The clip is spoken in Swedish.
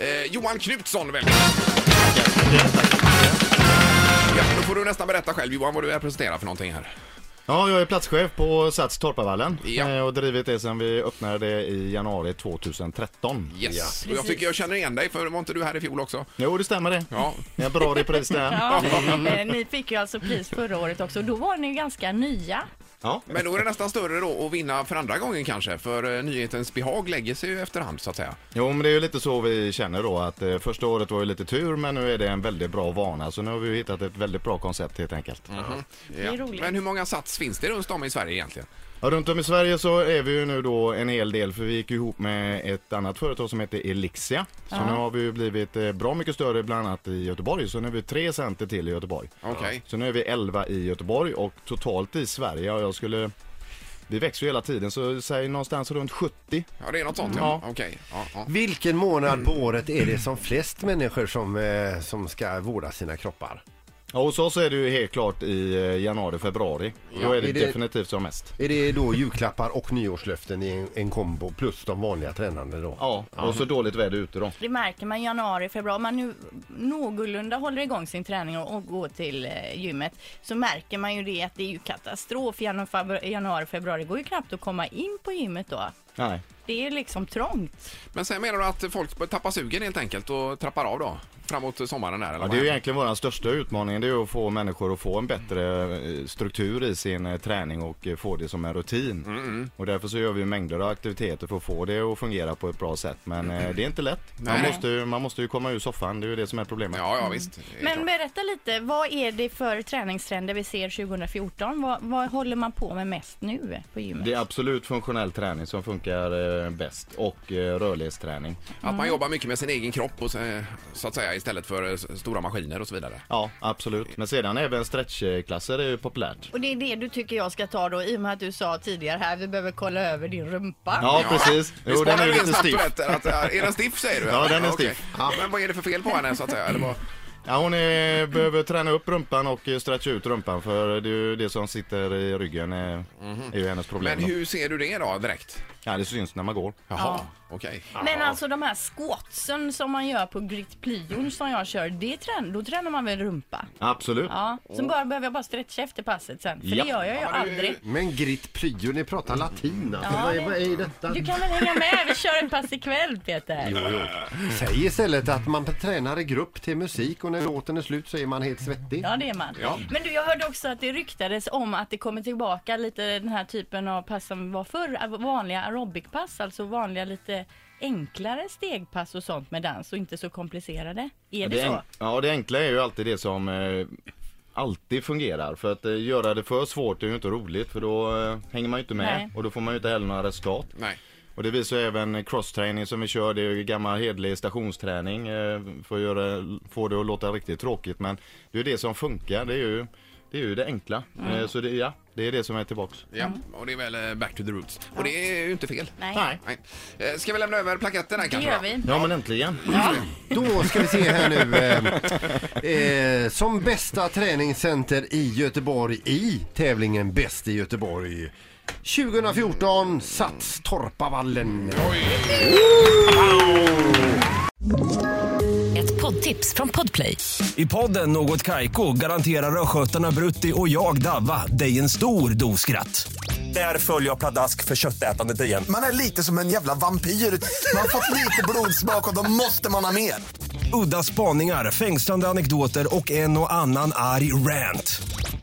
Eh, Johan Knutsson, välkommen. Ja, då får du nästan berätta själv Johan vad du representerar för någonting här. Ja, jag är platschef på Sats Torpavallen Ja. eh, och drivit det sedan vi öppnade det i januari 2013. Yes. och jag tycker jag känner igen dig för var inte du här i fjol också? Jo, det stämmer det. Ja. En bra repris där. Ja, eh, ni fick ju alltså pris förra året också och då var ni ju ganska nya. Ja. Men då är det nästan större då att vinna för andra gången kanske för eh, nyhetens behag lägger sig ju efterhand så att säga. Jo, men det är ju lite så vi känner då att eh, första året var ju lite tur men nu är det en väldigt bra vana så nu har vi ju hittat ett väldigt bra koncept helt enkelt. Ja. är roligt. Men hur många sats finns det runt om i Sverige egentligen? Ja, runt om i Sverige så är vi ju nu då en hel del för vi gick ju ihop med ett annat företag som heter Elixia. Så nu har vi ju blivit eh, bra mycket större bland annat i Göteborg så nu är vi tre center till i Göteborg. Okej. Så nu är vi 11 i Göteborg och totalt i Sverige och jag skulle vi växer ju hela tiden så säg någonstans runt 70. Ja, det är något sånt ja. Okej. Ja, ja. Vilken månad på året är det som flest människor som, eh, som ska vårda sina kroppar? Ja, hos oss är det ju helt klart i eh, januari, februari. Då är det, är det- definitivt som mest. Är det då julklappar och nyårslöften i en, en kombo plus de vanliga tränande då? Ja, och så dåligt väder ute då. Det märker man i januari, februari. Om man nu någorlunda håller igång sin träning och, och går till eh, gymmet så märker man ju det att det är ju katastrof. Janu- febru- Januari, februari går ju knappt att komma in på gymmet då. Nej. Det är liksom trångt. Men sen menar du att folk bör tappa sugen helt enkelt och trappar av då? Framåt sommaren där? Eller Ja, vad det är ju händer? egentligen vår största utmaning, det är ju att få människor att få en bättre eh, struktur i sin eh, träning och eh, få det som en rutin. Och därför så gör vi ju mängder av aktiviteter för att få det att fungera på ett bra sätt. Men eh, det är inte lätt. Man Nej. måste, ju, man måste ju komma ur soffan, det är ju det som är problemet. ja, ja visst. Det är Men klart. berätta lite, vad är det för träningstrender vi ser 2014? Vad, vad håller man på med mest nu på gymmet? Det är absolut funktionell träning som funkar eh, bäst och eh, rörlighetsträning. Att Mm. man jobbar mycket med sin egen kropp och så, så att säga istället för eh, s- stora maskiner och så vidare. Ja, absolut. Men sedan även stretchklasser är ju populärt. Och det är det du tycker jag ska ta då i och med att du sa tidigare här, vi behöver kolla över din rumpa. Ja, precis. Vi Jo, den spanar är ju lite snabbt stiff. rätt Att, eh, är den stiff säger du? Ja, Mm. den är Okej. stiff. Ja, Men vad är det för fel på henne så att säga? Eller vad? Ja, hon är, behöver träna upp rumpan och eh, stretcha ut rumpan för det är ju det som sitter i ryggen eh, är ju hennes problem. Men då. hur ser du det då direkt? Ja, det syns när man går. Jaha, Ja. okej. Men alltså de här squatsen som man gör på gritplyon som jag kör, det trän- då tränar man väl rumpa? Absolut. Ja, så bara behöver jag bara stretcha efter passet sen, för Ja. det gör jag ju men det är ju- aldrig. Men Grit Pryo, ni pratar latin alltså. Ja, vad, är, det- vad är detta? Du kan väl hänga med? Vi kör ett pass ikväll Peter. Jo, jo. Säg istället att man tränar i grupp till musik och när låten är slut så är man helt svettig. Ja det är man. Ja. Men du jag hörde också att det ryktades om att det kommer tillbaka lite den här typen av pass som var förr, vanliga aerobicpass, alltså vanliga lite enklare stegpass och sånt med dans och inte så komplicerade. Är det, det, så? en- ja, det enkla är ju alltid det som eh, alltid fungerar. För att eh, göra det för svårt är ju inte roligt för då eh, hänger man ju inte med Nej. och då får man ju inte heller några resultat. Nej. Och det visar ju även crosstraining som vi kör, det är ju gammal hedlig stationsträning eh, för att göra, få det att låta riktigt tråkigt. Men det är ju det som funkar, det är ju det, är ju det enkla. Eh, Så det, ja, det är det som är tillbaks. Ja, och det är väl eh, back to the roots. Och det är ju inte fel. Mm. Nej. Nej. Eh, Ska vi lämna över plaketten här Det kanske? gör då? vi. Ja men äntligen! Då ska vi se här nu. eh, Eh, som bästa träningscenter i Göteborg i tävlingen Bäst i Göteborg 2014 Sats Torpavallen. Ett poddtips från Podplay. I podden Något Kaiko garanterar östgötarna Brutti och jag, Davva, dig en stor dos skratt. Där följer jag pladask för köttätandet igen. Man är lite som en jävla vampyr. Man har fått lite blodsmak och då måste man ha mer. Udda spaningar, fängslande anekdoter och en och annan arg rant.